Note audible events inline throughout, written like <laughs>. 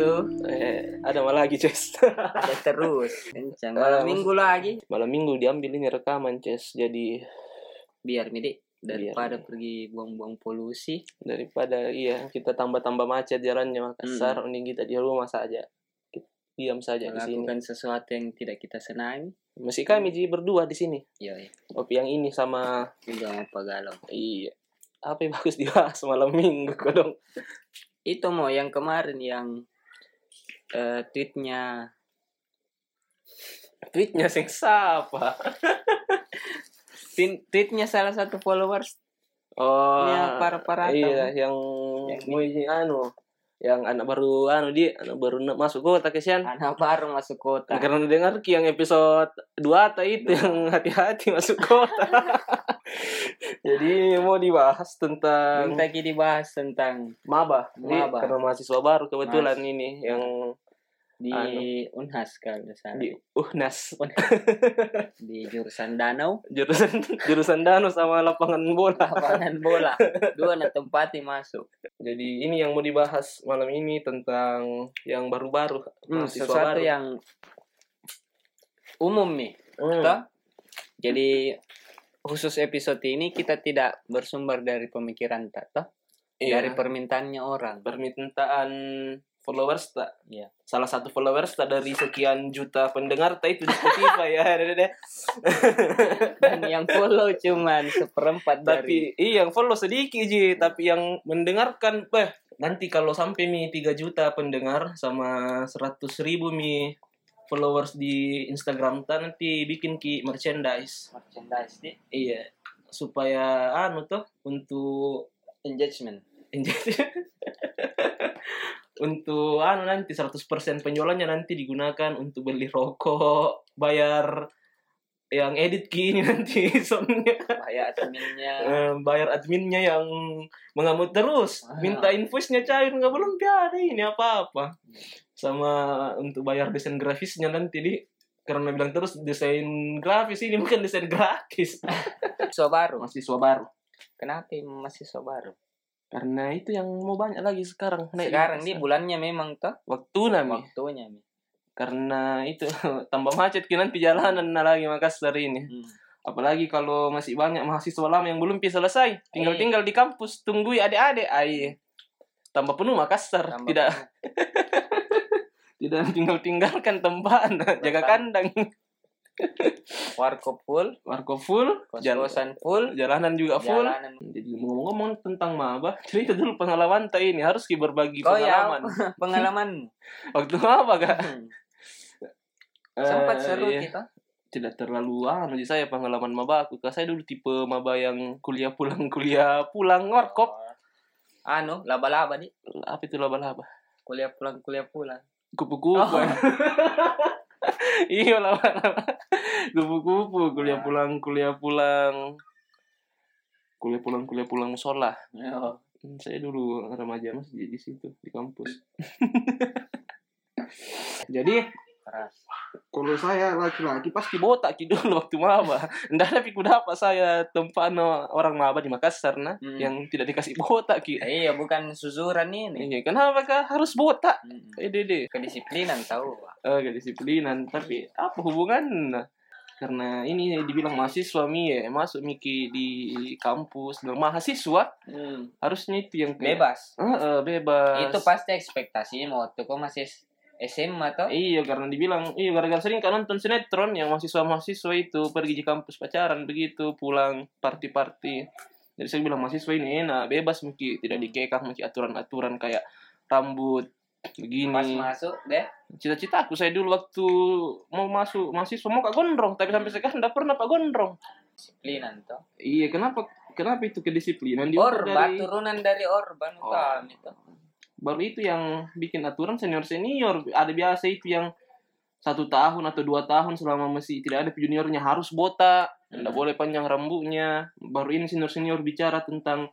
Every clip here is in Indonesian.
Eh, lagi Ces <laughs> Ada terus. Kencang. Eh, Malam maksud- minggu lagi. malam minggu diambil ini rekaman Ces jadi Biar midik. Biar, Daripada pergi buang-buang polusi. daripada iya kita tambah-tambah macet jalannya Makassar mending kita di rumah saja Kita diam saja di sini Melakukan sesuatu yang tidak kita senangi. masih kami Ji berdua di sini Iya, iya. Opi yang ini sama Jangan apa galau. iya apa yang bagus dibahas malam minggu kodong Itu mau yang kemarin yang eh, tweetnya tweetnya siapa tweet- tweetnya salah satu followers oh Ya, para-para iya yang Yang mau izin anu yang anak baru anu dia anak baru na- masuk kota kesian anak baru masuk kota <laughs> karena dengar Ki, yang episode 2 tadi itu yang hati-hati masuk <laughs> kota jadi mau dibahas tentang Minta kita dibahas tentang maba, Jadi, Maba. karena mahasiswa baru kebetulan ini yang di Anu. Unhas kalau tidak salah. di UNAS di jurusan danau <laughs> jurusan jurusan danau sama lapangan bola lapangan <laughs> bola dua na tempat yang masuk Jadi ini yang mau dibahas malam ini tentang yang baru-baru hmm, mahasiswa sesuatu baru. yang umum nih Hmm, toh? jadi khusus episode ini kita tidak bersumber dari pemikiran tak toh? iya. dari permintaannya orang permintaan followers tak. Iya. Salah satu followers tak dari sekian juta pendengar tak itu di Spotify <laughs> ya. Dedede. <laughs> dan yang follow cuman seperempat tapi dari iya yang follow sedikit ji, tapi yang mendengarkan beh nanti kalau sampai mi 3 juta pendengar sama 100 ribu mi followers di Instagram tak nanti bikin ki merchandise. merchandise di Iya. Supaya anu tuh untuk <laughs> engagement untuk anu nanti 100% penjualannya nanti digunakan untuk beli rokok, bayar yang edit kini nanti <laughs> soundnya, bahaya adminnya Eh, bayar adminnya yang mengamuk terus, minta infusnya cair nggak belum ada ini apa-apa. Sama untuk bayar desain grafisnya nanti di karena bilang terus desain grafis ini bukan desain gratis. so baru Mahasiswa baru. kenapa masih so baru Karena itu yang mau banyak lagi sekarang. naik sekarang di di bulannya memang toh waktu nami. waktunya Mi. karena itu <laughs> tambah macet ki nanti jalanan nah lagi Makassar ini Hmm. apalagi kalau masih banyak mahasiswa lama yang belum pi selesai tinggal tinggal di kampus tunggui adik-adik ai tambah penuh Makassar Tambah tidak tidak <laughs> tinggal tinggalkan tempat <laughs> jaga kandang <laughs> warkop full Marco full Jalan- kos-kosan full jalanan juga full jalanan jadi ngomong-ngomong tentang maba <laughs> cerita dulu pengalaman tak ini harus ki berbagi Oh, ya. pengalaman <laughs> pengalaman waktu apa <laughs> kak Hmm. sempat Eh, seru gitu. iya. kita tidak terlalu anu sih saya pengalaman maba aku karena saya dulu tipe maba yang kuliah pulang <laughs> kuliah pulang warkop anu laba-laba nih apa itu laba-laba kuliah pulang kuliah pulang kupu-kupu Oh. <laughs> <laughs> iya laba-laba <laughs> kupu-kupu kuliah pulang kuliah pulang kuliah pulang kuliah pulang musola Oh, Hmm, saya dulu remaja mas di, di situ di kampus <laughs> jadi keras kalau saya laki-laki pasti botak gitu dulu <laughs> waktu maba ndak ada piku dapat saya tempat no orang maba di Makassar nah Hmm. yang tidak dikasih botak ki Eh, iya bukan susuran ini Iya, kenapa kah harus botak Mm-mm. eh dede kedisiplinan tahu eh kedisiplinan tapi apa hubungan karena ini dibilang mahasiswa mi ya masuk miki di kampus bilang mahasiswa Hmm. harusnya itu yang kayak- bebas Eh, eh, bebas itu pasti ekspektasinya mau tuh kok masih S- SMA toh Iya karena dibilang iya gara-gara sering kan nonton sinetron yang mahasiswa-mahasiswa itu pergi di kampus pacaran begitu pulang party-party. Jadi saya bilang mahasiswa ini enak bebas mungkin tidak dikekang mungkin aturan-aturan kayak rambut pas begini. masuk deh Cita-cita aku saya dulu waktu mau masuk mahasiswa mau kak gondrong tapi sampai sekarang tidak pernah pak gondrong. disiplinan toh Iya kenapa kenapa itu kedisiplinan diukur orba dari turunan dari orban Oh. kami toh baru itu yang bikin aturan senior senior ada biasa itu yang satu tahun atau dua tahun selama masih tidak ada juniornya harus botak Hmm. tidak boleh panjang rambutnya baru ini senior senior bicara tentang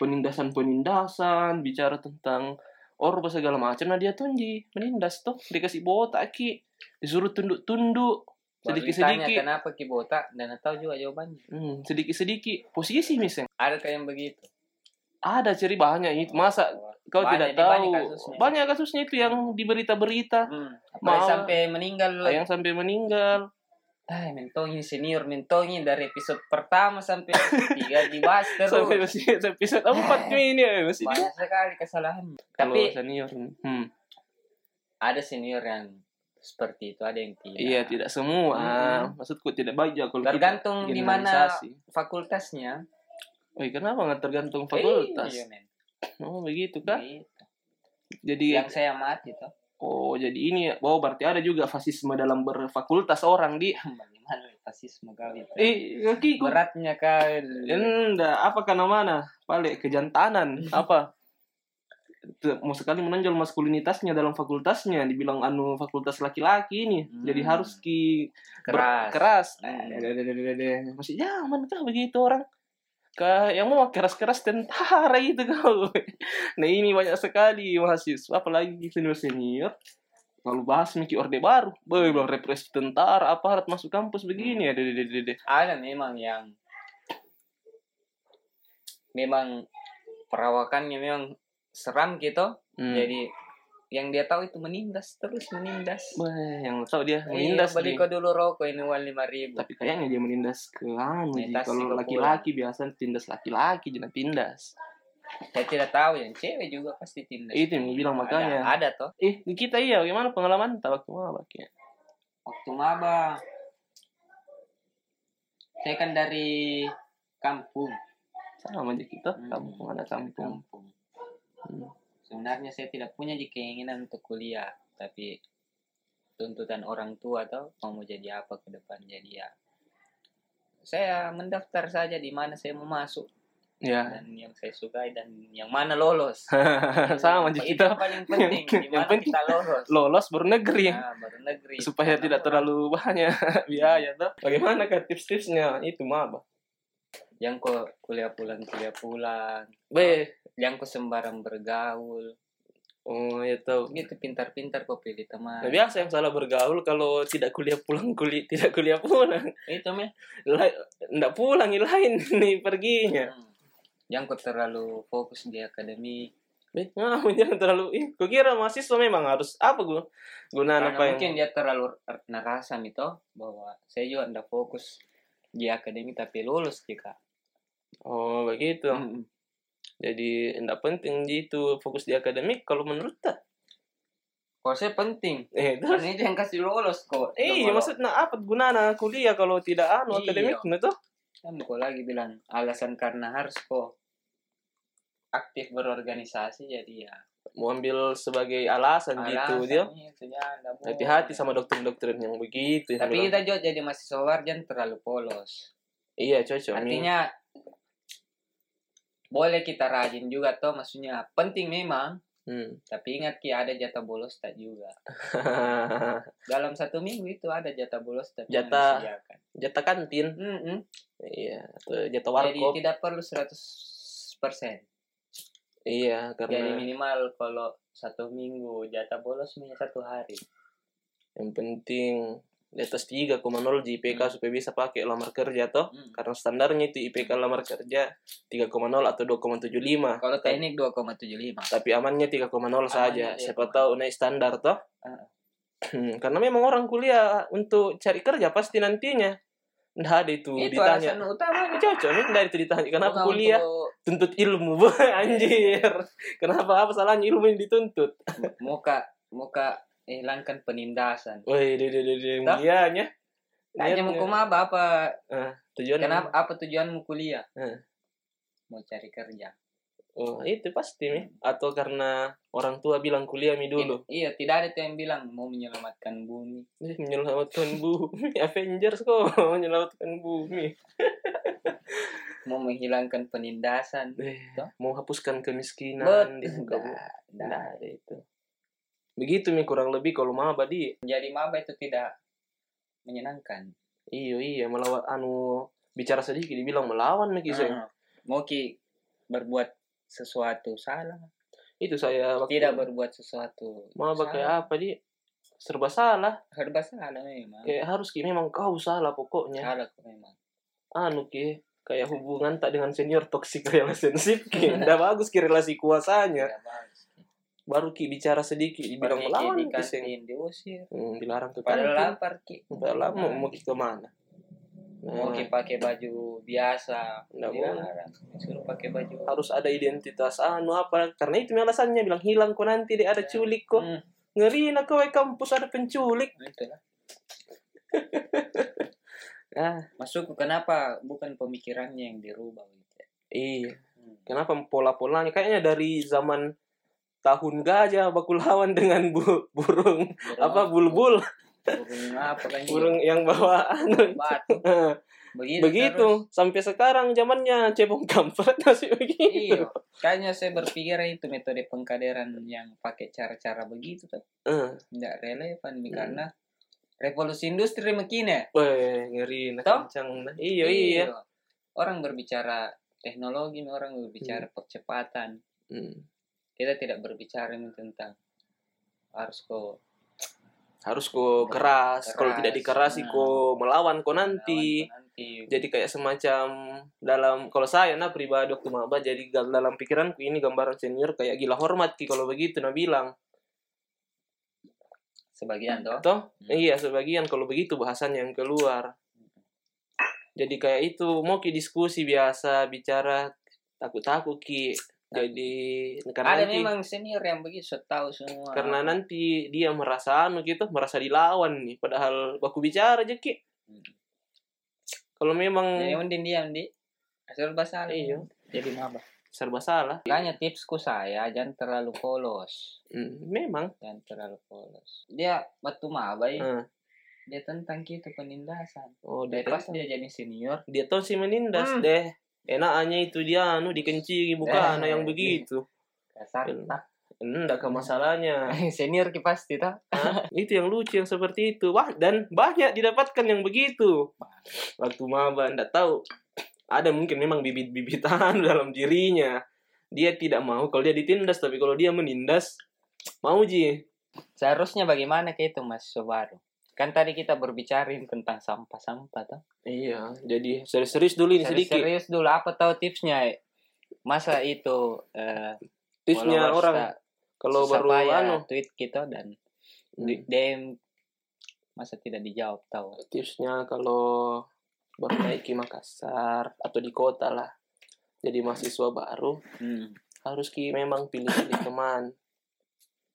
penindasan penindasan bicara tentang orba segala macam nah dia tunji menindas tuh dikasih botak ki disuruh tunduk tunduk Baru sedikit ditanya sedikit kenapa ki botak dan tahu juga jawabannya hmm, sedikit sedikit posisi misalnya ada kayak yang begitu Ada ciri bahannya itu. Masa kau tidak Banyak nih, tahu? banyak kasusnya. Banyak kasusnya itu yang di berita-berita. Hmm. Mau- Apalagi sampai meninggal. Ah, Yang sampai meninggal. Ah, mentongin senior, mentongin dari episode pertama sampai <laughs> episode tiga dibahas terus. Sampai masih episode empat ini ya, masih dia. Eh. Banyak sekali kesalahan. Kalau Tapi senior. Hmm. ada senior yang seperti itu, ada yang tidak. Iya, tidak semua. Mm-mm. Maksudku tidak banyak kalau kita Hmm. Tergantung di mana generalisasi. fakultasnya. Wih, kenapa nggak tergantung fakultas? Eh, iya, men. Oh, begitu kan? Gitu. Jadi Yang saya mati tuh. oh, jadi ini ya. Oh, berarti ada juga fasisme dalam berfakultas orang di <laughs> Bagaimana ya, fasisme kau itu? Eh, kaki ku- Beratnya kan. Enggak, apa karena mana? Balik <laughs> kejantanan, apa? Tuh, Mau sekali menonjol maskulinitasnya dalam fakultasnya, dibilang anu fakultas laki-laki ini. Hmm. Jadi harus ki ber- Keras. keras. Hmm. Dededededede. Masih zaman kah begitu orang? Ka- yang mau keras-keras tentara itu kau. <laughs> Nah ini banyak sekali mahasiswa, apalagi senior senior. Lalu bahas Miki Orde Baru, Boy, bilang represi tentara, aparat masuk kampus begini Hmm. ya, dedededede. ada memang yang memang perawakannya memang seram gitu Hmm. jadi yang dia tahu itu menindas terus menindas Wah, yang tahu dia Iya, menindas beli dia. kau dulu rokok ini uang lima ribu tapi kayaknya dia menindas ke anu Ji. Menindas kalau ke laki-laki biasa tindas laki-laki jangan tindas saya tidak tahu yang cewek juga pasti tindas itu yang bilang makanya ada, ada toh eh di kita iya gimana pengalaman tak waktu mabak ya waktu maba saya kan dari kampung sama aja kita Hmm. kampung ada kampung kampung. Hmm. Sebenarnya saya tidak punya di keinginan untuk kuliah, tapi tuntutan orang tua atau mau mau jadi apa ke depan jadi ya. Saya mendaftar saja di mana saya mau masuk ya <laughs> dan yang saya sukai dan yang mana lolos. sama aja Itu kita yang paling penting di <laughs> yang mana penting kita lolos. <laughs> lolos baru negeri Nah, baru negeri. supaya Karena tidak orang terlalu banyak <laughs> biaya tuh bagaimana kak tips-tipsnya itu mabak yang kok kuliah pulang kuliah pulang, be yang kok sembarang bergaul. oh ya tahu Gitu pintar-pintar kok pilih teman. Nah, biasa yang salah bergaul kalau tidak kuliah pulang kuliah tidak kuliah pulang Itu meh. Lai- ndak pulang yang lain <laughs> nih perginya Hmm. Yang kok terlalu fokus di akademik Eh, ah, jangan terlalu ih gua kira mahasiswa memang harus apa gua gunaan Karena Nah, apa yang mungkin dia terlalu r- nerasa itu bahwa saya juga tidak fokus di akademik tapi lulus jika oh begitu Mm-mm. jadi ndak penting gitu fokus di akademik kalau menurut <laughs> tak kalau saya penting eh terus karena dia yang kasih lulus kok eh Kalau- maksudnya apa gunaan kuliah kalau tidak anu Iya. akademik nah tuh kan kok lagi bilang alasan karena harus kok aktif berorganisasi jadi ya mau ambil sebagai alasan, gitu dia itu ya, nggak boleh. hati-hati sama dokter-dokter yang begitu yang tapi bilang, kita juga jadi mahasiswa warjan terlalu polos iya cocok nih. Artinya boleh kita rajin juga toh maksudnya penting memang Hmm. <laughs> tapi ingat ki ada jatah bolos tak juga dalam satu minggu itu ada jatah bolos tapi yang Jatah. disediakan. jatah kantin Mm-mm. iya atau jatah jadi warkop tidak perlu 100 persen iya karena jadi minimal kalau satu minggu jatah bolos hanya satu hari yang penting di atas 3,0 JPK Hmm. supaya bisa pakai lamar kerja toh Mm. karena standarnya itu IPK lamar kerja 3,0 atau 2,75 kalau teknik 2,75 tapi amannya 3,0 saja Amannya siapa 3,0. tahu naik standar toh Ah. Hmm, <clears throat> karena memang orang kuliah untuk cari kerja pasti nantinya nggak ada itu, itu ditanya alasan utamanya cocok nih nggak ada itu ditanya kenapa Bukan kuliah untuk tuntut ilmu Boy. <laughs> anjir kenapa apa salahnya ilmu yang dituntut muka muka hilangkan penindasan woi deh deh deh deh Toh. mulianya hanya mau Niatnya. koma apa apa tujuan Kenapa apa tujuanmu kuliah? Eh. Mau cari kerja. Oh, itu pasti Mi. Atau karena orang tua bilang kuliah mi dulu. I- iya, tidak ada tuh yang bilang mau menyelamatkan bumi. Eh, Menyelamatkan bumi. <laughs> Avengers kok menyelamatkan bumi. Mau menghilangkan penindasan. Eh, Tuh. mau hapuskan Bet- kemiskinan di muka bumi. Dah, dah. Nah, ada itu. Begitu mi kurang lebih kalau maba di. Menjadi maba itu tidak menyenangkan. Iyo iya melawan anu bicara sedikit dibilang melawan mi kisah. Ah. Mau ki berbuat sesuatu salah. Itu saya waktu Tidak berbuat sesuatu. maba salah. kayak apa di? Serba salah. Serba salah memang. Kayak harus ki memang kau salah pokoknya. Salah kok memang. Anu ki kayak hubungan tak dengan senior toxic relationship <laughs> ki ndak bagus ki relasi kuasanya Tidak bagus. baru ki bicara sedikit dibilang Pergi melawan di ki seng kantin diusir. Hmm, dilarang ke Padahal kantin lapar ki. udah lama mau ki kemana nah, Mau ki pakai baju biasa. Nggak dilarang. Suruh pakai baju. harus ada identitas anu apa karena itu alasannya bilang hilang kok nanti dia ada Ya. culik kok Hmm, ngeri nak kau kampus ada penculik gitu lah. ah Masukku kenapa bukan pemikirannya yang dirubah gitu. ya. iya Hmm. kenapa pola-polanya kayaknya dari zaman tahun gajah bakulawan dengan bu- burung Burung apa bulbul Burung apa kan? burung yang bawa anu batu. Nah, Begitu. Iya, terus. begitu sampai sekarang zamannya cebong kampret masih Iya. begitu Kayaknya saya berpikir itu metode pengkaderan yang pakai cara-cara begitu tuh. Eh, Tidak relevan Mi, Hmm. karena revolusi industri makin ya. weh, ngeri nak Toh? kencang nah. iya iya Orang berbicara teknologi, Mi, orang berbicara percepatan. Hmm. Kita tidak berbicara Mi, tentang harus kok harus kok keras, Keras, kalau tidak dikerasi nah. kok melawan kok nanti lawan nanti. jadi kayak semacam dalam kalau saya nah pribadi waktu maba jadi gal- dalam pikiranku ini gambaran senior kayak gila hormat ki kalau begitu nah bilang Sebagian toh. toh Hmm. iya sebagian kalau begitu bahasan yang keluar jadi kayak itu mau ki diskusi biasa bicara takut-takut ki jadi karena Ada nanti memang senior yang begitu so tahu semua. karena nanti dia merasa anu gitu merasa dilawan nih padahal baku bicara aja ki Hmm. Ya, kalau Jadi memang undin diam di. Asal basah. iya Jadi maba. serba salah Makanya tipsku saya jangan terlalu polos. Hmm, memang Jangan terlalu polos. Dia batu mabai. Hmm. Dia tentang kita penindasan. oh dia tahu Dari pas dia jadi senior, dia tahu sih menindas Hmm. deh enaknya itu dia anu dikencingi Eh, bukan nah, yang iya. begitu kasar Hmm. tak. <laughs> enggak ke masalahnya <laughs> senior ki pasti tak. itu yang lucu yang seperti itu wah dan banyak didapatkan yang begitu waktu maba enggak tahu ada mungkin memang bibit-bibitan <laughs> dalam dirinya dia tidak mau kalau dia ditindas tapi kalau dia menindas mau ji Seharusnya bagaimana kayak itu Mas Sobaru? Kan tadi kita berbicarain tentang sampah-sampah tuh. iya jadi serius-serius dulu ini sedikit Serius dulu apa tahu tipsnya? eh? Masa itu eh, tipsnya followers orang tak kalau susah baru payah anu tweet kita dan di Hmm. DM masa tidak dijawab tahu. tipsnya kalau baru naik ke Makassar atau di kota lah jadi mahasiswa baru Hmm. harus ki memang pilih-pilih teman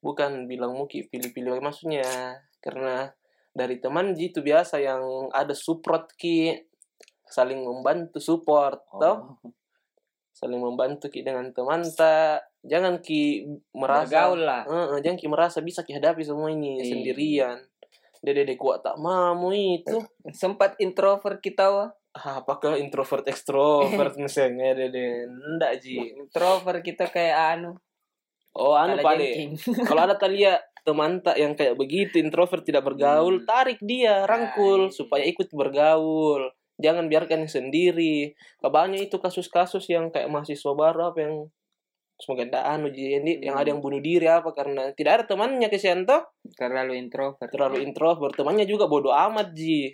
bukan bilang muki pilih-pilih maksudnya karena dari teman gitu biasa yang ada support ki saling membantu support toh Oh. saling membantu ki dengan teman tak jangan ki merasa Bergaul lah. Eh, eh, jangan ki merasa bisa ki hadapi semua ini Iya. sendirian dede kuat tak mamu itu Sempat introvert kita wah. Ah, apakah introvert <laughs> ekstrovert misalnya dede ndak ji Introvert kita kayak anu. oh anu kala paling jengking. <laughs> kalau ada Talia teman tak yang kayak begitu introvert tidak bergaul Hmm. tarik dia rangkul Nah, iya. supaya ikut bergaul jangan biarkan yang sendiri kabarnya itu kasus-kasus yang kayak mahasiswa baru apa yang semoga tidak anu jadi ini yang Hmm. ada yang bunuh diri apa karena tidak ada temannya kesian toh Terlalu introvert. Eh, terlalu introvert temannya juga bodoh amat ji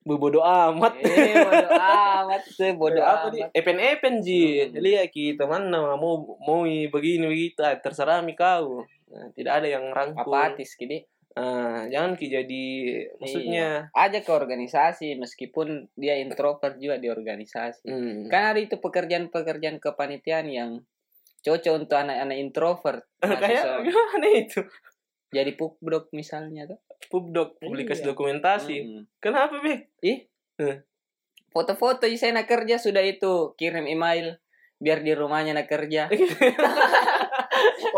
bodoh amat Eh, bodoh amat. Saya bodoh bodoh Eh, apa amat. nih epen epen ji Hmm. lihat ki teman nah, mau mau begini begitu ah, terserah mi kau Nah, tidak ada yang rangkul Apatis gini. Ah, jangan ki jadi maksudnya Aja ke organisasi meskipun dia introvert juga di organisasi. hmm. Kan ada itu pekerjaan-pekerjaan kepanitiaan yang cocok untuk anak-anak introvert. <laughs> kayak Mahasiswa. gimana itu jadi pubdok misalnya tuh. pubdoc publikasi Iya. dokumentasi Mm-mm. kenapa be Foto-foto isi saya nak kerja sudah itu kirim email biar di rumahnya nak kerja.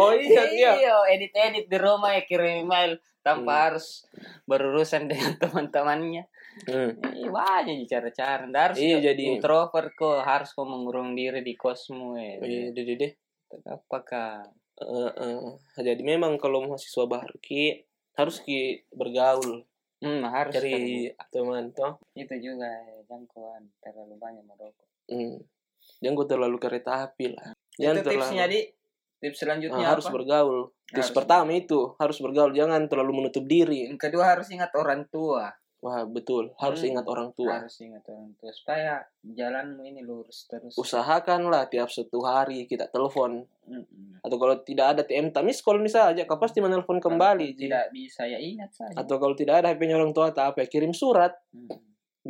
oh <laughs> iya iya edit-edit di rumah ya kirim email tanpa Hmm. harus berurusan <laughs> dengan teman-temannya. Hmm. Ih, banyak sih cara-cara. Nggak harus Iya, kok jadi- introvert kok harus kok mengurung diri di kosmu ya. iya deh deh, deh. Apakah Eh, eh. jadi memang kalau mahasiswa baru ki harus ki bergaul hmm, harus cari teman toh terbuka. itu juga ya, jangkauan terlalu banyak merokok. hmm. jangan gua terlalu kereta api lah jangan Itu tipsnya terlalu di tips Ah, selanjutnya harus apa? bergaul tips Harus. pertama itu harus bergaul jangan terlalu menutup diri Yang kedua harus ingat orang tua. Wah, betul. Harus Hmm. ingat orang tua. harus ingat orang tua supaya jalanmu ini lurus terus Usahakanlah tiap satu hari kita telepon. Mm-mm. Atau kalau tidak ada TM tamis call misalnya aja, kau pasti menelpon kembali. Kalau Ji. tidak bisa ya ingat saja Atau kalau tidak ada HP-nya orang tua tak apa, ya, kirim surat Mm.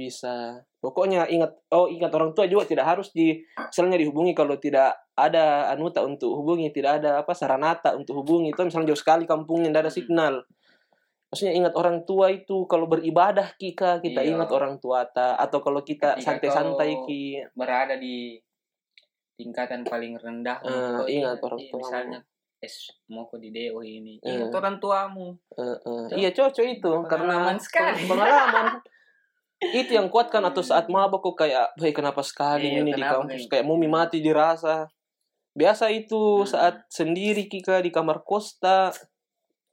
bisa. Pokoknya ingat oh ingat orang tua juga tidak harus di misalnya dihubungi kalau tidak ada anuta untuk hubungi, tidak ada apa saranata untuk hubungi. Itu misalnya jauh sekali kampungnya tidak ada Hmm. signal. Maksudnya ingat orang tua itu kalau beribadah kika kita Iya. ingat orang tua ta atau kalau kita Ketika santai-santai kau- ki berada di tingkatan paling rendah Eh, untuk ingat ini. orang Iya, tuamu. misalnya es mau ke di DO ini Eh. ingat orang tuamu Eh, eh. Itu Iya cocok itu karena pengalaman sekali. Hmm. pengalaman itu yang kuatkan atau saat mabok kok kayak "Hei, kenapa sekali Iya, ini di kenapa kampus ini?" kayak mumi mati dirasa biasa itu Hmm. saat sendiri kika di kamar kosta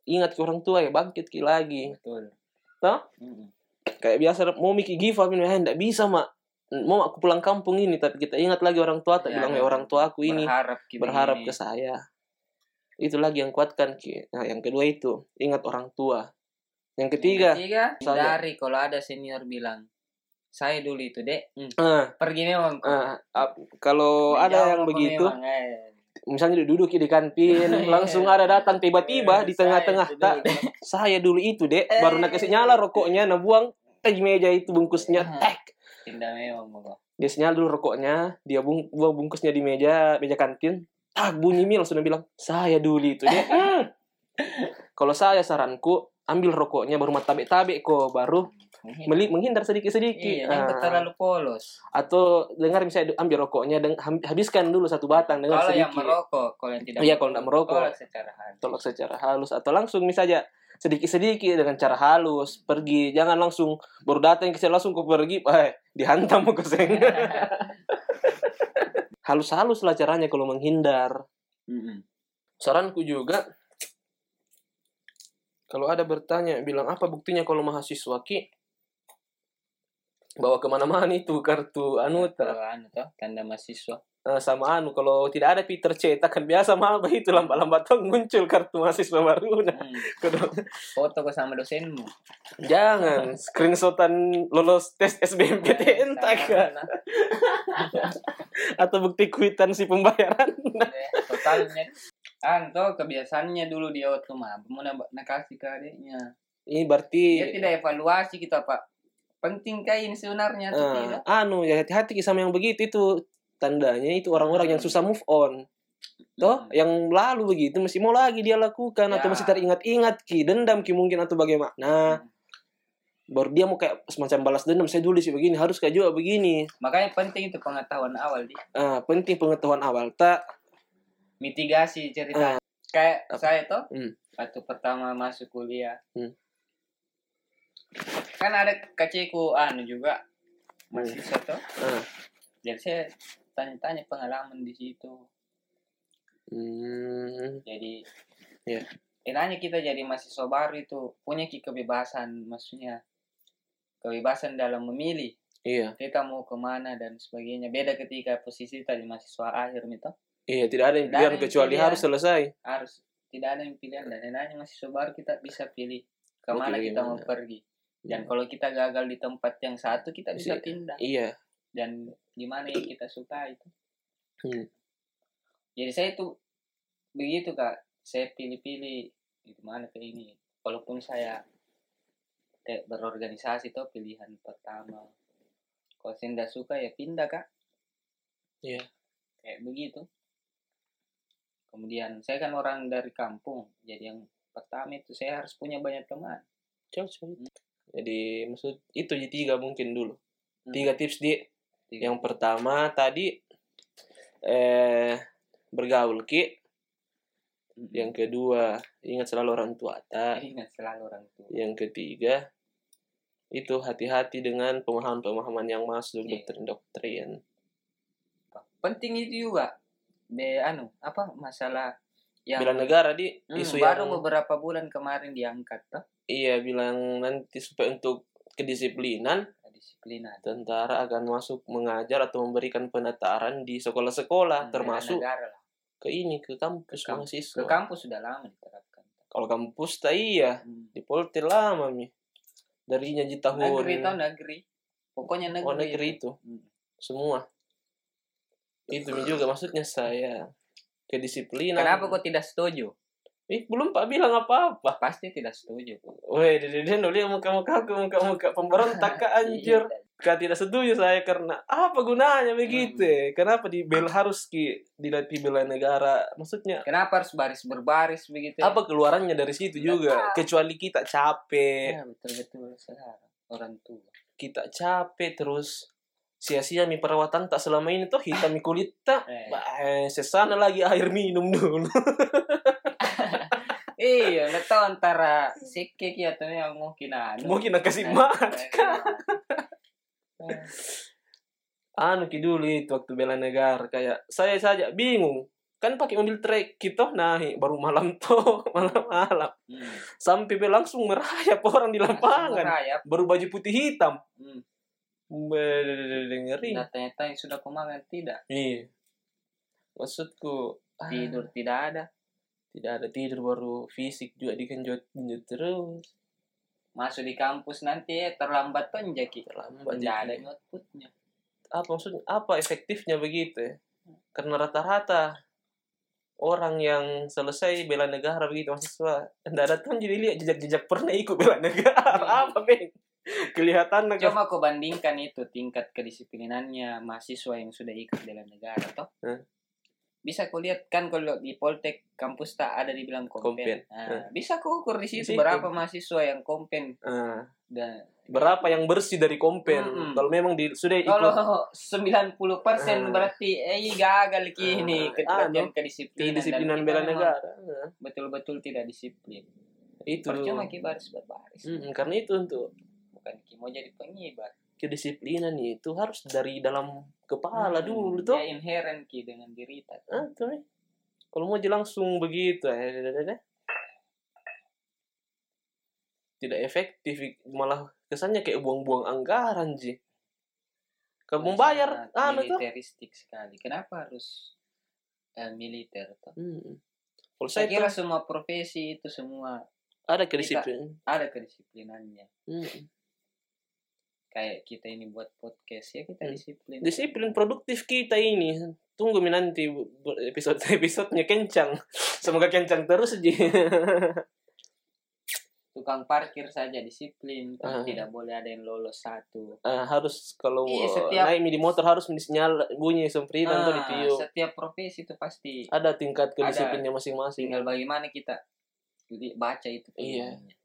ingat ke orang tua ya bangkit ki lagi betul Hmm, Toh? Mm-mm. kayak biasa mumi ki give up ini "Eh, ndak bisa mak mau aku pulang kampung ini tapi kita ingat lagi orang tua tak Iya, bilang iya. "Ya, orang tua aku ini berharap kita berharap ini. ke saya itu lagi yang kuatkan Ki. nah yang kedua itu ingat orang tua yang Yang ketiga ketiga Saya. hindari kalau ada senior bilang saya dulu itu dek Mm. eh, pergi memang kok. eh, ap- kalau ada yang Menjauh kok begitu memang, eh. misalnya duduk ya di <laughs> kantin langsung ada datang tiba-tiba di Eh, saya tengah-tengah itu tak dulu. saya dulu itu dek Eh. baru nak kasih nyala rokoknya nah buang ke meja itu bungkusnya Eh. tek Tindak memang kok. dia sinyal dulu rokoknya dia bung buang bungkusnya di meja meja kantin tak bunyi mil sudah bilang saya dulu itu <laughs> dek Hmm. kalau saya saranku ambil rokoknya baru matabek-tabek kok baru meli menghindar sedikit-sedikit. Iya, jangan Ah, terlalu polos. atau dengar misalnya ambil rokoknya dan ham- habiskan dulu satu batang dengan Kalau yang sedikit. merokok, kalau yang tidak Iya, kalau tidak merokok. tolak secara halus. Tolak secara halus atau langsung misalnya sedikit-sedikit dengan cara halus pergi jangan langsung baru datang ke sini langsung kau pergi eh dihantam kau seng <laughs> halus-halus lah caranya kalau menghindar Mm-mm. saranku juga kalau ada bertanya bilang apa buktinya kalau mahasiswa ki bawa kemana-mana itu kartu anuta Kalau anu toh, tanda mahasiswa. Eh, sama anu kalau tidak ada Peter cetak kan biasa mah apa itu lambat-lambat <laughs> tuh muncul kartu mahasiswa baru nah. Hmm. Kudu- Foto kau sama <laughs> dosenmu. jangan screenshotan lolos tes SBMPTN Sama tak kan? anak. atau bukti kuitansi pembayaran Eh, Totalnya. Anu toh, kebiasaannya dulu dia waktu mah. Mau nak nak kasih ke adiknya. ini Dia berarti Ya, tidak evaluasi kita, Pak. Penting kah ini sebenarnya atau eh, tidak? anu ya hati-hati sama yang begitu itu tandanya itu orang-orang yang susah move on toh Hmm. yang lalu begitu masih mau lagi dia lakukan atau Ya. masih teringat-ingat ki dendam ki mungkin atau bagaimana nah, Hmm. baru dia mau kayak semacam balas dendam saya dulu sih begini harus kayak juga begini Makanya penting itu pengetahuan awal di Ah, penting pengetahuan awal tak mitigasi cerita. Kayak Ah. Apa? saya toh Hmm. waktu pertama masuk kuliah. Hmm. Kan ada kaciku anu juga mahasiswa toh. Ah. Jadi saya tanya-tanya pengalaman di situ. Hmm, Jadi Iya. enaknya kita jadi mahasiswa baru itu punya ki- kebebasan maksudnya kebebasan dalam memilih iya kita mau kemana dan sebagainya beda ketika posisi tadi mahasiswa akhir itu iya tidak ada yang pilihan Tidak ada yang kecuali pilihan. harus selesai harus tidak ada yang pilihan dan enaknya mahasiswa baru kita bisa pilih Mau kemana pilih Iya. kita mau gimana. pergi dan kalau kita gagal di tempat yang satu kita bisa Bisa. pindah iya dan gimana yang kita suka itu Hmm. jadi saya itu begitu kak saya pilih-pilih itu mana ke ini walaupun saya kayak berorganisasi itu pilihan pertama kalau saya tidak suka ya pindah kak Iya. kayak begitu kemudian saya kan orang dari kampung jadi yang pertama itu saya harus punya banyak teman cocok jadi maksud itu jadi tiga mungkin dulu Hmm. tiga tips di Tiga. yang pertama tadi eh bergaul ki yang kedua ingat selalu orang tua ta <laughs> ingat selalu orang tua yang ketiga itu hati-hati dengan pemahaman-pemahaman yang masuk Iya. doktrin-doktrin penting itu juga be anu apa masalah yang Bela negara di Hmm, isu baru yang beberapa bulan kemarin diangkat tuh iya bilang nanti supaya untuk kedisiplinan disiplinan tentara akan masuk mengajar atau memberikan penataran di sekolah-sekolah Hmm, Ah, termasuk bela negara lah. ke ini ke kampus Ke kampus. mahasiswa ke kampus sudah lama diterapkan kalau kampus tak iya Hmm. di polter lama mi darinya di tahun negeri tau negeri pokoknya negeri oh negeri itu Hmm. semua itu juga maksudnya saya kedisiplinan kenapa kok tidak setuju Ih, belum pak bilang apa-apa pasti tidak setuju kok. Weh, deden lihat muka-muka aku, muka-muka pemberontak Kak, anjir. <laughs> Iya. Kak Kan tidak setuju saya karena apa gunanya begitu? ya? Kenapa dibel harus ki dilihat bela negara? Maksudnya kenapa harus baris berbaris begitu ya? apa keluarannya dari situ juga? Kecuali kita capek, ya, betul betul sekarang orang tua kita capek terus sia-sia mi perawatan tak selama ini tuh hitam mi kulit tak. Eh. Bah, eh, sesana lagi air minum dulu. <laughs> iya nggak tahu antara sikik ya tuh yang mungkin anu Mungkin nak kasih mat. <laughs> Eh, anu ki dulu itu waktu bela negara kayak saya saja bingung kan pakai mobil trek gitu naik baru malam <laughs> toh malam malam hmm. sampai be langsung merayap orang di Langsung lapangan merayap. baru baju putih hitam Hmm. Bedededede, ngeri Nah, ternyata yang sudah pemakan tidak iya maksudku ah, tidur tidak ada tidak ada tidur baru fisik juga dikenjot kenjot terus masuk di kampus nanti ya, terlambat tuh jaki terlambat tidak jadi. ada outputnya apa maksudnya apa efektifnya begitu ya? karena rata-rata orang yang selesai bela negara begitu mahasiswa tidak datang jadi lihat jejak-jejak pernah ikut bela negara apa beng kelihatan negara Hmm. coba kau bandingkan itu tingkat kedisiplinannya mahasiswa yang sudah ikut dalam negara toh Hmm. bisa kau lihat kan kalau di Poltek kampus tak ada dibilang kompen, Kompen. Nah, bisa kau ukur di Di situ situ. berapa mahasiswa yang kompen Ah, dan berapa yang bersih dari kompen Mm-mm. kalau memang di, sudah ikut Hmm. kalau 90% Hmm. berarti eh gagal kini Hmm. kedisiplinan Anu, kedisiplinan bela negara Ah, betul-betul tidak disiplin itu percuma ki baris berbaris Mm-mm, karena itu untuk bukan ki mau jadi pengibar kedisiplinan ya, itu harus dari dalam kepala dulu Hmm, iya. tuh dia inherent ki dengan diri kita Ah, tuh, eh. Kalau mau aja langsung begitu, eh, deh, deh, deh. tidak efektif, malah kesannya kayak buang-buang anggaran sih. Kamu bayar, Sangat anu tuh. militeristik sekali kenapa harus eh, militer toh? Hmm. Kalau saya saya tuh kira semua profesi itu semua ada kedisiplin. ada kedisiplinannya Iya. Hmm. kayak kita ini buat podcast ya kita Hmm. disiplin Disiplin produktif kita ini. Tunggu mi nanti bu- bu- episode episodenya kencang. <laughs> Semoga kencang terus aja. tukang parkir saja disiplin Ah. tidak boleh ada yang lolos satu Ah, harus kalau Iya, eh, setiap- naik mi di motor harus mi sinyal bunyi semprilan tuh Ah. Ah, ditiup. setiap profesi itu pasti Ada tingkat kedisiplinnya masing-masing. tinggal bagaimana kita li- baca itu Iya. tulisannya.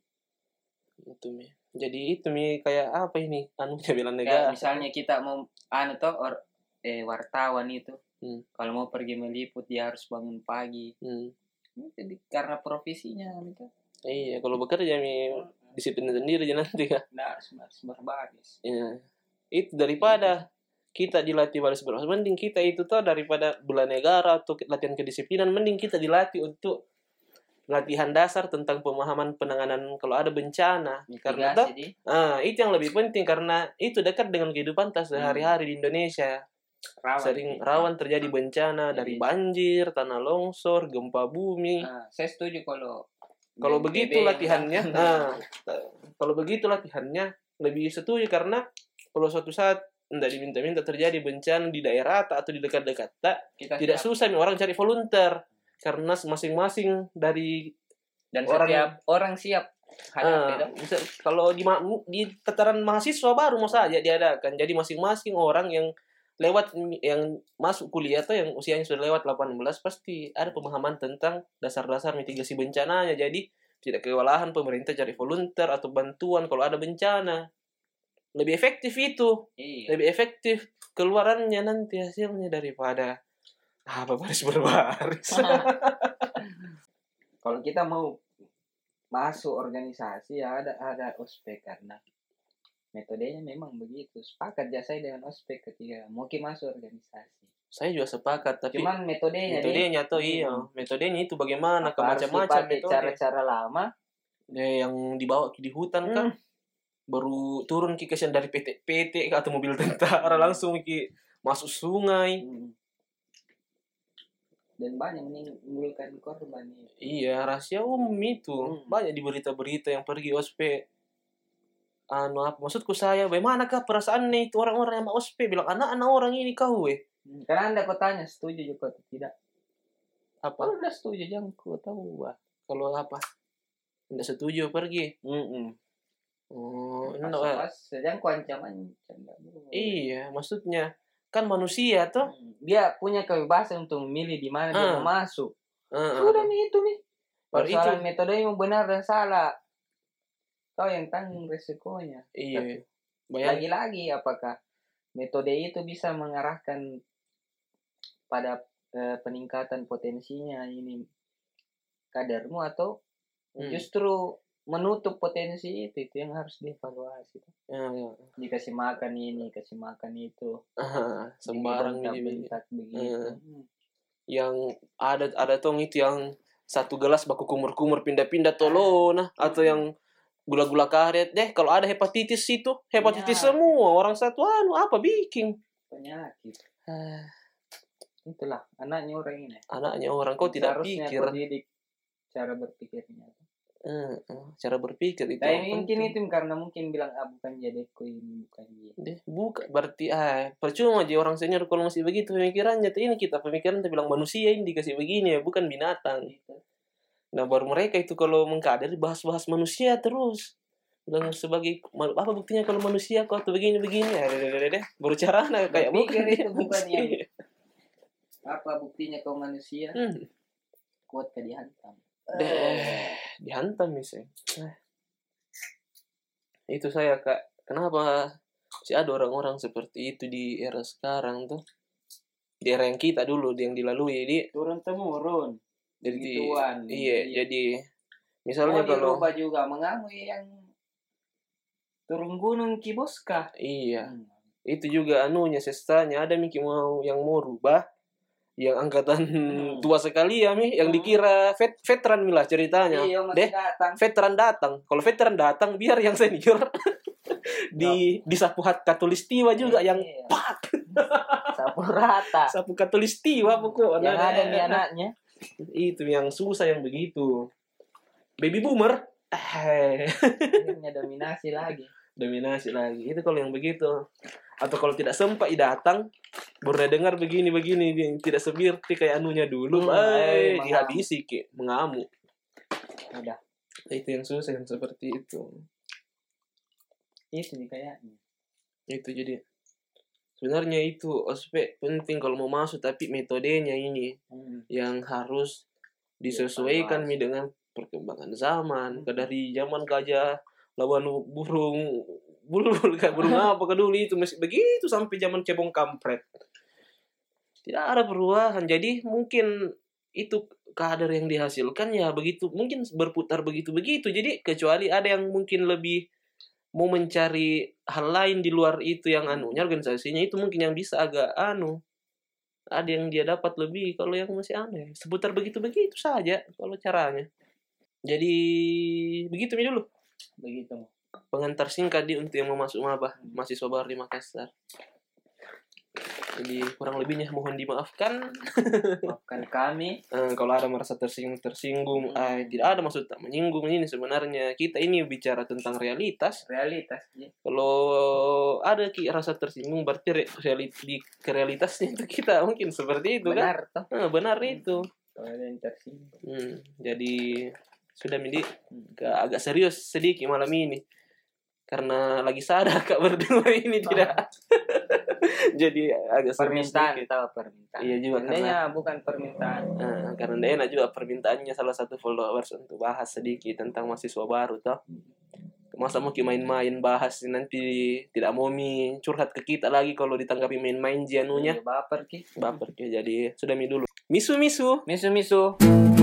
itu mi jadi itu mi kayak apa ini <laughs> anunya bela negara kayak misalnya kita mau anu toh or, eh, wartawan itu Hmm. kalau mau pergi meliput dia harus bangun pagi Hmm. itu di- karena profesinya anu itu iya kalau bekerja mi Hmm. disiplin sendiri aja nanti kan nah, harus, harus berbaris Iya. itu daripada Iya. kita dilatih baris baris mending kita itu tuh daripada bela negara atau ke- latihan kedisiplinan mending kita dilatih untuk latihan dasar tentang pemahaman penanganan kalau ada bencana karena Mitigasi tuh di ah, itu yang lebih penting karena itu dekat dengan kehidupan tas sehari-hari di Indonesia rawan sering rawan terjadi bencana dari Jadi- banjir, tanah longsor, gempa bumi. Ah, saya setuju kalau Kalau BNPB begitu yang- <laughs> latihannya, nah, kalau begitu latihannya lebih setuju karena kalau suatu saat tidak diminta-minta terjadi bencana di daerah tak atau di dekat-dekat tak, kita ah, tidak siap. susah nih orang cari volunteer karena masing-masing dari dan orang- setiap orang siap hadapi eh, toh. bisa- kalau di ma- di tataran mahasiswa baru mau saja diadakan. Jadi masing-masing orang yang lewat yang masuk kuliah atau yang usianya sudah lewat 18 pasti ada pemahaman tentang dasar-dasar mitigasi bencananya. Jadi tidak kewalahan pemerintah cari volunteer atau bantuan kalau ada bencana. Lebih efektif itu, iya lebih efektif keluarannya nanti hasilnya daripada "Ah, apa baris berbaris. <laughs> kalau kita mau masuk organisasi ya ada ada ospek karena metodenya memang begitu sepakat ya saya dengan ospek ketika mau ki masuk organisasi <laughs> Saya juga sepakat tapi cuman metodenya Iya. deh, metodenya tuh iya Hmm. metodenya itu bagaimana apa harus macam-macam dipakai metode cara-cara lama Eh, yang dibawa di hutan kan Hmm. baru turun ki kesian dari PT PT kah, atau mobil tentara langsung ki masuk sungai Hmm. dan banyak menimbulkan korban ya. iya rahasia umum itu Hmm. banyak di berita-berita yang pergi ospek anu apa maksudku saya bagaimana kah perasaan nih itu orang-orang yang mau ospek bilang anak-anak orang ini kau eh Hmm. Karena anda kau tanya setuju juga atau tidak. apa Kalau udah setuju jangan kau tahu bah. kalau apa tidak setuju pergi Mm oh -mm. enggak. Jangan kau ancam ancam. enggak boleh. Iya, maksudnya kan manusia toh. Hmm. Dia punya kebebasan untuk memilih di mana dia Ah. mau masuk. Sudah Heeh. nih itu nih. Baru itu. Persoalan metode yang benar dan salah. Kau yang tanggung resikonya. Iya. Bayang Lagi-lagi apakah metode itu bisa mengarahkan pada eh, peningkatan potensinya ini kadarmu atau Hmm. justru menutup potensi itu itu yang harus dievaluasi. Iya, iya. Dikasih makan ini, kasih makan itu, Ah, sembarang gitu. bentak begitu. Hmm. Yang ada ada tong itu yang satu gelas baku kumur-kumur pindah-pindah tolo nah atau yang gula-gula karet deh kalau ada hepatitis itu hepatitis Iya. semua orang satu anu apa bikin Penyakit. Ah, Itulah anaknya orang ini. anaknya orang kau tidak Seharusnya pikir kau didik cara berpikirnya. Eh, eh, cara berpikir itu Tapi yang mungkin penting. itu karena mungkin bilang ah bukan jadiku ini bukan dia. Deh, buka berarti ah percuma aja orang senior kalau masih begitu pemikirannya tuh ini kita pemikiran tuh bilang manusia ini dikasih begini ya bukan binatang Gitu. nah baru mereka itu kalau mengkader bahas-bahas manusia terus bilang sebagai ma- apa buktinya kalau manusia kok atau begini begini ya deh, deh, deh, deh. baru cara nah, kayak <laughs> Berpikir itu dia bukan yang- manusia. Apa buktinya kau manusia Hmm, kuat ke dihantam? deh dihantam misalnya Ah. itu saya kak kenapa sih ada orang-orang seperti itu di era sekarang tuh di era yang kita dulu di- yang dilalui jadi Turun temurun. jadi Begituan. iya jadi Mau misalnya kalau dirubah juga mengamui yang turun gunung kiboska. iya itu juga anunya sestanya ada Miki mau yang mau rubah yang angkatan Hmm. tua sekali ya mi yang Hmm. dikira vet, veteran milah ceritanya Iya masih Deh. datang. veteran datang kalau veteran datang biar yang senior <laughs> di disapu hat katulistiwa juga yang Iya. pat sapu rata. sapu Iya. katulistiwa Nah, pokoknya Hmm. yang ada nih anaknya. itu yang susah yang begitu baby boomer Ah. Eh, Akhirnya dominasi lagi. dominasi lagi itu kalau yang begitu atau kalau tidak sempat i datang baru dia dengar begini begini dia yang tidak sebirti kayak anunya dulu Hmm, eh eh, mengamuk. dihabisi ke mengamuk Udah. itu yang susah yang seperti itu Itu nih Iya kayaknya. itu jadi sebenarnya itu ospek penting kalau mau masuk tapi metodenya ini Hmm. yang harus disesuaikan Dievaluasi. nih dengan perkembangan zaman Hmm. Ke dari zaman gajah lawan burung <laughs> bulbul kayak burung apa ke dulu itu masih begitu sampai zaman cebong kampret tidak ada perubahan jadi mungkin itu kader yang dihasilkan ya begitu mungkin berputar begitu begitu jadi kecuali ada yang mungkin lebih mau mencari hal lain di luar itu yang anunya organisasinya itu mungkin yang bisa agak anu ada yang dia dapat lebih kalau yang masih aneh seputar begitu begitu saja kalau caranya jadi begitu Mi, dulu <laughs> Begitu. pengantar singkat di untuk yang mau masuk maba mahasiswa baru di Makassar jadi kurang lebihnya mohon dimaafkan Maafkan kami. Eh, kalau ada merasa tersinggung tersinggung Hmm. eh, tidak ada maksud tak menyinggung ini sebenarnya kita ini bicara tentang realitas realitas ya. Ji. kalau ada ki rasa tersinggung berarti re- reali- di realitasnya itu kita mungkin seperti itu kan benar toh Eh, benar itu kalau ada yang tersinggung Hmm, jadi sudah midi Hmm. agak, agak serius sedikit malam ini karena lagi sadar <laughs> kak berdua ini tidak <laughs> jadi agak serius permintaan sedikit. tahu permintaan Iya juga, Sebenarnya bukan permintaan Eh, karena dia enak juga permintaannya salah satu followers untuk bahas sedikit tentang mahasiswa baru toh masa mau ki main-main bahas nanti tidak mau mi curhat ke kita lagi kalau ditanggapi main-main jianunya Iya, baper ki baper Ki. jadi sudah mi dulu misu misu misu misu